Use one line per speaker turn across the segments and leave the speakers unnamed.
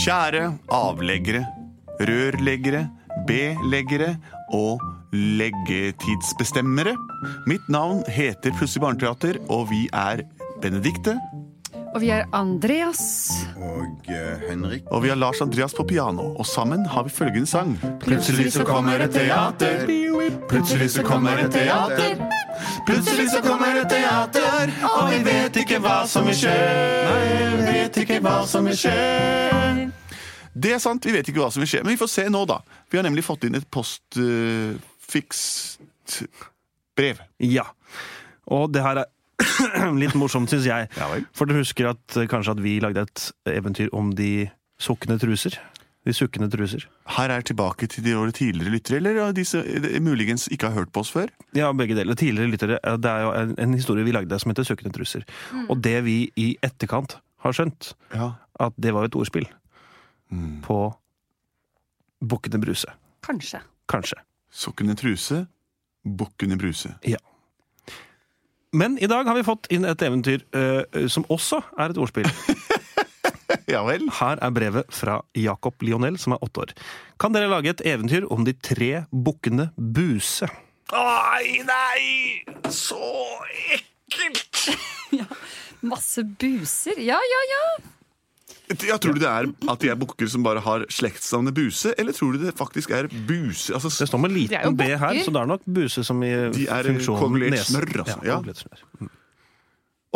Kjære avleggere, rørleggere, beleggere og leggetidsbestemmere. Mitt navn heter Plutselig barneteater, og vi er Benedikte.
Og vi er Andreas.
Og eh, Henrik
Og vi har Lars Andreas på piano, og sammen har vi følgende sang.
Plutselig så kommer et
teater.
Plutselig så
kommer et teater.
Plutselig så kommer et teater, og vi vet ikke hva som vil skje. Vi vet ikke hva som vil skje. Det er sant, vi vet ikke hva som vil skje, men vi får se nå, da. Vi har nemlig fått inn et postfikst brev.
Ja. Og det her er litt morsomt, syns jeg.
Ja vel.
For dere husker at, eh, kanskje at vi lagde et eventyr om de sukkende truser? De sukkende truser.
Her er tilbake til de våre tidligere lyttere, eller de som eh, muligens ikke har hørt på oss før.
Ja, begge deler. Tidligere lyttere. eh, Det er jo en, en historie vi lagde som heter Sukkende truser. Og det vi i etterkant har skjønt,
Ja.
at det var jo et ordspill
Mm.
på Bukkene Bruse.
Kanskje.
Kanskje.
Sukkende truse, bukkende bruse.
Men i dag har vi fått inn et eventyr eh, som også er et ordspill.
Ja vel.
Her er brevet fra Jacob Lionel, som er åtte år. Kan dere lage et eventyr om de tre bukkene Buse?
Ai, nei! Så ekkelt!
Masse buser. Ja, ja, ja.
Ja, tror du det er at de er bukker som bare har slektsnavnet Buse, eller tror du det faktisk er Buse? Altså,
Det står med
Det er
liten
jo
B her,
bukker.
så det er nok Buse som i
De er
funksjonen
kongelert
nese.
snørr, altså.
Ja,
Ja.
kongelert snørr.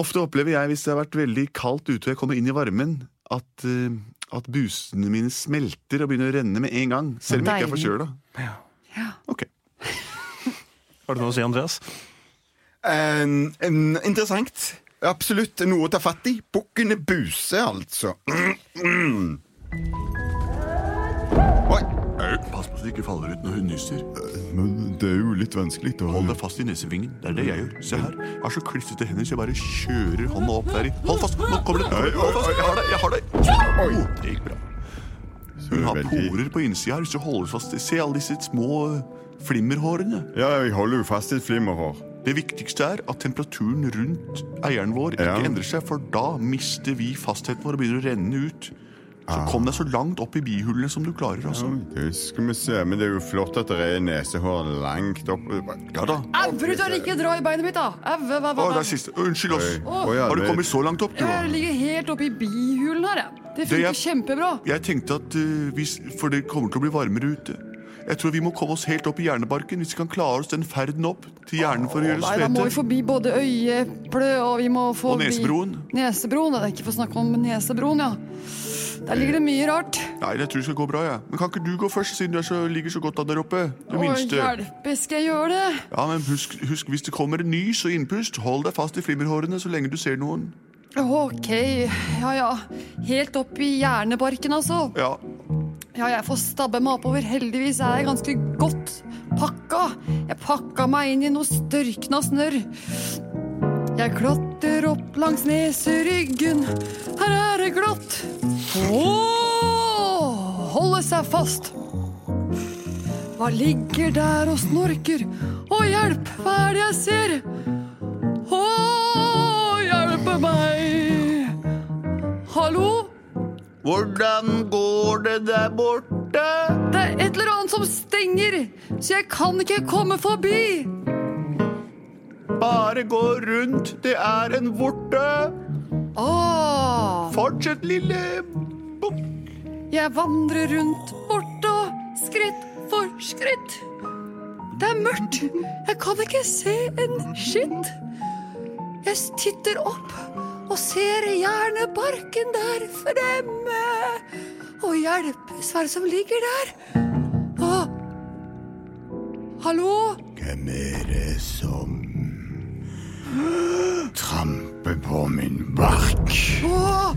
Ofte opplever jeg, hvis det har vært veldig kaldt ute og jeg kommer inn i varmen, at, eh, at busene mine smelter og begynner å renne med en gang. Selv om jeg ikke er forkjøla.
Ja.
Ok.
Har du noe å si, Andreas?
En- en- Interessant. Absolutt noe å ta fatt i. Bukkene Buse, altså. Mm. Oi.
Pass på så du ikke faller ut når hun nyser.
Men det er jo litt vanskelig å
Hold deg fast i nesevingen. Det er det jeg gjør. Se her. Jeg har så klissete hender, så jeg bare kjører hånda opp der i. Hold fast! Nå kommer det! Hold fast! Jeg har deg! Jeg har deg!
Oi.
Oh, det gikk bra. Hun har porer på innsida her, så holder fast. Se alle disse små eh, flimmerhårene.
Ja, jeg holder jo fast i et flimmerhår.
Det viktigste er at temperaturen rundt eieren vår ikke
Ja.
endrer seg, for da mister vi fastheten vår og begynner å renne ut. Så
Ah.
kom deg så langt opp i bihullene som du klarer, altså.
Det skal vi se, men det er jo flott at det er nesehår langt opp
Ja da.
Au, for du tør ikke dra i beinet mitt, da! Au, hva, hva,
Å,
hva.
det er siste. Unnskyld oss.
Å, ja,
Har du
det-
kommet så langt opp, du?
Jeg ligger helt oppi bihulen her, jeg.
Det
Det funker
er-
kjempebra.
Jeg tenkte at eh, hvis, For det kommer til å bli varmere ute. Jeg tror vi må komme oss helt opp i hjernebarken hvis vi kan klare oss den ferden opp til hjernen for å gjøre
Nei, da må vi
oss fete.
forbi både øyeeplet og vi må
Og
forbi
nesebroen.
Nesebroen, det er ikke for å snakke om nesebroen, ja. Der ligger det mye rart.
Nei, jeg tror det skal gå bra, jeg. Men kan ikke du gå først, siden du er så, ligger så godt an der oppe? Det
Å,
minste.
hjelpe, skal jeg gjøre det?
Ja, men husk, husk, hvis det kommer en nys og innpust, hold deg fast i flimmerhårene så lenge du ser noen.
Ok, ja ja. Helt opp i hjernebarken, altså.
Ja,
Ja, jeg får stabbe meg oppover. Heldigvis er jeg ganske godt pakka. Jeg pakka meg inn i noe størkna snørr. Jeg klatrer opp langs neseryggen. Her er det glatt. Åh, holde seg fast. Hva ligger der og snorker? Å, hjelp, hva er det jeg ser? Å, hjelpe meg. Hallo?
Hvordan går det der borte?
Det er et eller annet som stenger, så jeg kan ikke komme forbi.
bare gå rundt, det er en vorte.
Åh,
Fortsett, lille bukk.
jeg vandrer rundt bort og skritt for skritt. Det er mørkt. Jeg kan ikke se en skitt. Jeg titter opp og ser hjernebarken der fremme. Og hjelpes hva er det som ligger der? Åh. Hallo?
Hvem er det som tramper på min bark?
Åh,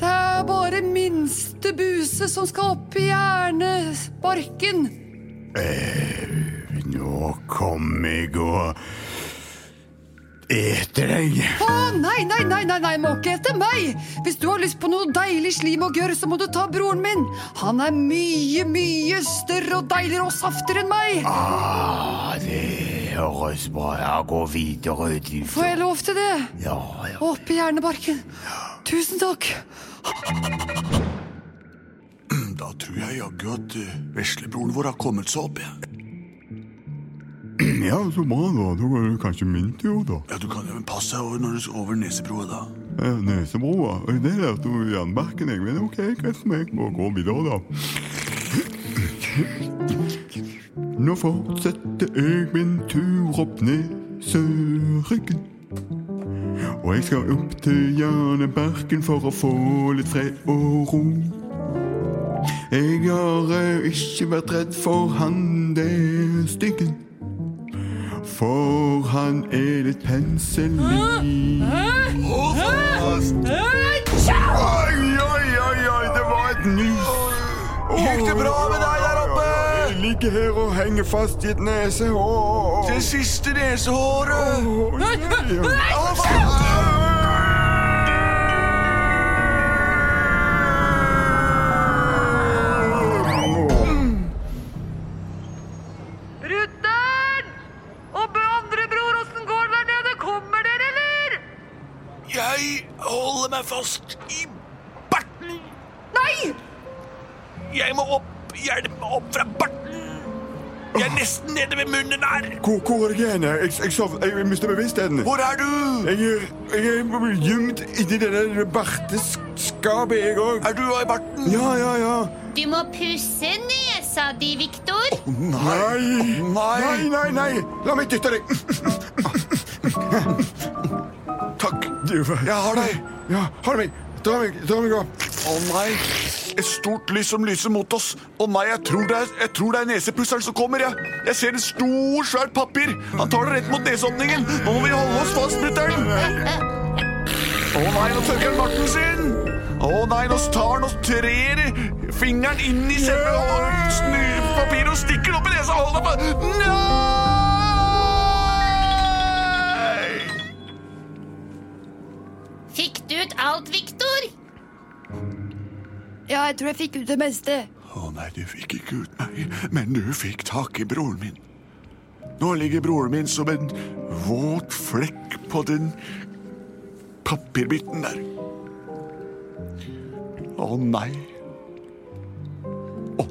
det er bare minste buse som skal opp i hjernesparken.
Nå kommer jeg og eter deg.
Å, nei, nei, nei, nei, nei, må ikke etter meg. Hvis du har lyst på noe deilig slim og gørr, så må du ta broren min. Han er mye, mye større og deiligere og saftigere enn meg.
Ah, det høres bra. Ja, gå videre ut. i-
Får jeg lov til det?
Ja, ja.
Opp i hjernebarken. Tusen takk.
da tror jeg jaggu at eh, veslebroren vår har kommet seg opp igjen.
Ja, så bra, da. Da går det kanskje min tur, da.
Ja, du kan jo passe deg over når du skal over Nesebroa, da.
Eh, Nesebroa. Oi, Det der sto i jernbarken, jeg. Men OK, greit for meg. Bare gå videre, da. Nå fortsetter jeg min tur opp neseryggen. Og jeg skal opp til Janeberken for å få litt fred og ro. Jeg har eh, ikke vært redd for han der styggen. For han er litt penselin. Oi, oi, oi, oi, det var et nys. Gikk det bra med deg der oppe? Jeg ligger her og henger fast i et nesehår. Det siste nesehåret.
Brutter'n! Og bø andre bror, åssen går det der nede? Kommer dere, eller?
Jeg holder meg fast i barten.
Nei!
Jeg må opp, hjelpe opp fra barten. Jeg er nesten nede ved munnen her.
Hvor, hvor er jeg hen? Jeg, jeg, sov, jeg mistet bevisstheten.
Hvor er du?
Jeg er, jeg er gjemt inni det der barteskapet, jeg òg.
Er du i barten?
Ja, ja, ja.
Du må pusse nesa di, Viktor.
Nei. Nei, nei, nei. La meg dytte deg.
Takk.
Du,
Jeg har deg.
ja, ha det meg. Dra meg, dra meg opp.
Å nei. Et stort lys som lyser mot oss. Å nei, jeg tror det er, jeg tror det er nesepusseren som kommer. Jeg, jeg ser et stort, svært papir. Han tar det rett mot neseåpningen. Nå må vi holde oss fast, mutter'n. Å nei, nå tørker han barten sin. Å nei, nå tar han og trer fingeren inn i selve hå- snur papiret og stikker den opp i nesa. Hold deg på. Nei!
Fikk du ut alt, Viktor?
Ja, jeg tror jeg fikk ut det meste.
Å nei, du fikk ikke ut meg, men du fikk tak i broren min. Nå ligger broren min som en våt flekk på den papirbiten der. Å nei. Å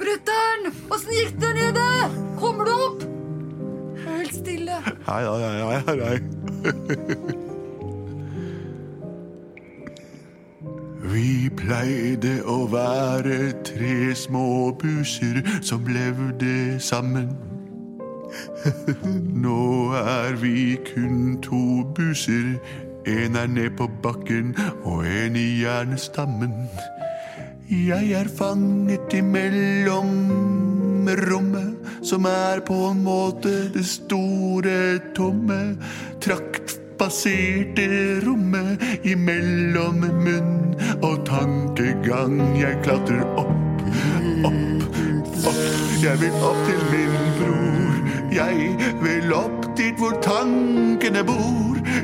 Brutter'n, åssen gikk det der nede? Kommer du opp? Helt stille.
nei, nei, nei, nei, nei. Vi pleide å være tre små buser som levde sammen. Nå er vi kun to buser. En er ned på bakken, og en i jernstammen. Jeg er fanget imellom rommet, som er på en måte det store, tomme, traktbaserte rommet imellom munn og tankegang. Jeg klatrer opp, opp, opp. Jeg vil opp til min bror. Jeg vil opp dit hvor tankene bor.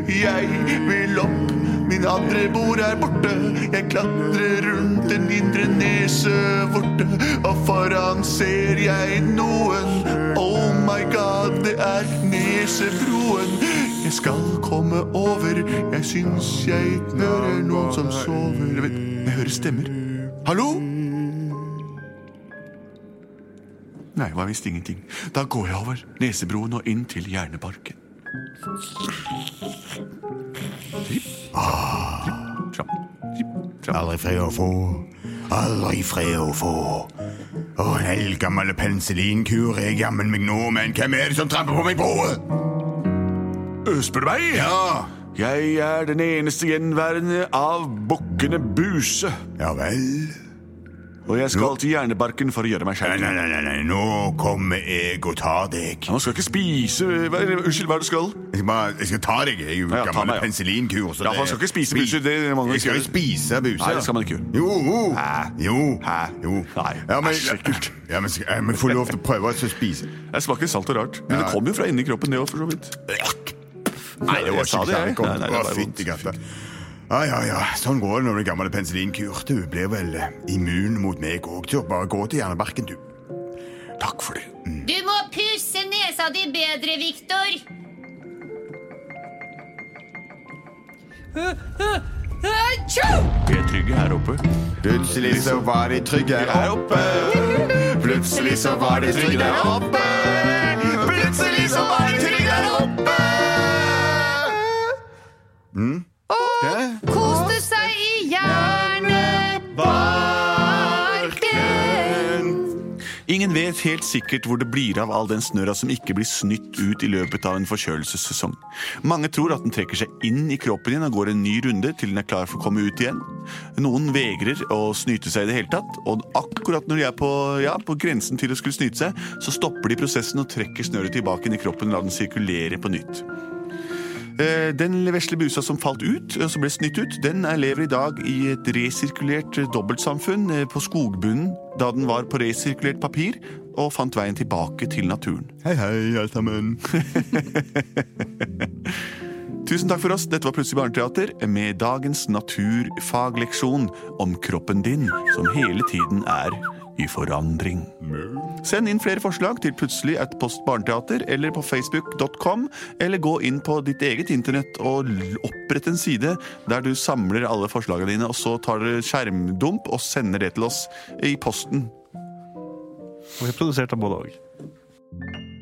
Jeg vil opp Min andre bord er borte. Jeg klatrer rundt den indre nesevorte. Og foran ser jeg noen. Oh my god, det er nesebroen. Jeg skal komme over. Jeg syns jeg hører noen som sover. Jeg, vet, jeg hører stemmer. Hallo? Nei, det var visst ingenting. Da går jeg over nesebroen og inn til Hjerneparken.
Ah.
Trapp, tripp, trapp.
Aldri fred å få. Aldri fred å få. Å, en eldgammel penicillinkur er jammen meg nå, men hvem er det som tramper på meg på?
Spør du meg?
Ja,
Jeg er den eneste gjenværende av bukkene Buse.
ja vel.
Og jeg skal til Hjernebarken for å gjøre meg
Nei,
skjær.
nei, nei, nei, nei, nå kommer jeg og tar deg.
Man skal ikke spise hva, Unnskyld, hva er det du skal?
Jeg skal, bare, jeg skal ta deg. Jeg er jo
Ja, ja, ta
gammel
meg, ja.
penicillinkur. så
Ja,
det-
for han skal ikke spise buser, det må man
jeg skal jo
ikke
spise buser.
Nei, det skal man ikke gjøre.
Jo. jo.
Hæ?
Jo.
Hæ?
Jo.
Nei,
Ja, men,
æsj, ekkelt.
ja, men, skal- jeg må få lov til å prøve å spise.
Jeg smaker salt og rart. Men
Ja.
det kommer jo fra inni kroppen, det òg, for så vidt.
Nei, det var
jeg sa
ikke
det, jeg.
kjærlig godt.
Nei, nei, det
Å,
var vondt.
fytti katta. Ja, ja, ja. Sånn går det når du er gammel penicillinkur. Du blir vel eh, immun mot meg òg, du. Bare gå til hjernebarken, du.
Takk for det.
Du må pusse nesa di bedre, Viktor.
Hei, tjo!
Petri,
trygge her oppe.
Plutselig så var de trygge
Her oppe.
Plutselig så var de trygge der oppe.
Plutselig så var det trygg der oppe.
Koste seg i hjernebarken.
Ingen vet helt sikkert hvor det blir av all den snørra som ikke blir snytt ut i løpet av en forkjølelsessesong. Mange tror at den trekker seg inn i kroppen igjen og går en ny runde til den er klar for å komme ut igjen. Noen vegrer å snyte seg i det hele tatt, og akkurat når de er på, ja, på grensen til å skulle snyte seg, så stopper de prosessen og trekker snøret tilbake inn i kroppen og lar den sirkulere på nytt. Eh, Den vesle busa som falt ut, og som ble snytt ut, den er- lever i dag i et resirkulert eh, dobbeltsamfunn eh, på skogbunnen, da den var på resirkulert papir og fant veien tilbake til naturen.
Hei, hei, alle sammen.
Tusen takk for oss. Dette var Plutselig barneteater med dagens naturfagleksjon om kroppen din, som hele tiden er i forandring. Send inn flere forslag til plutselig at postbarneteater eller på facebook.com, eller gå inn på ditt eget internett og l- opprett en side der du samler alle forslagene dine, og så tar du skjermdump og sender det til oss i posten.
Og vi er produsert av både og.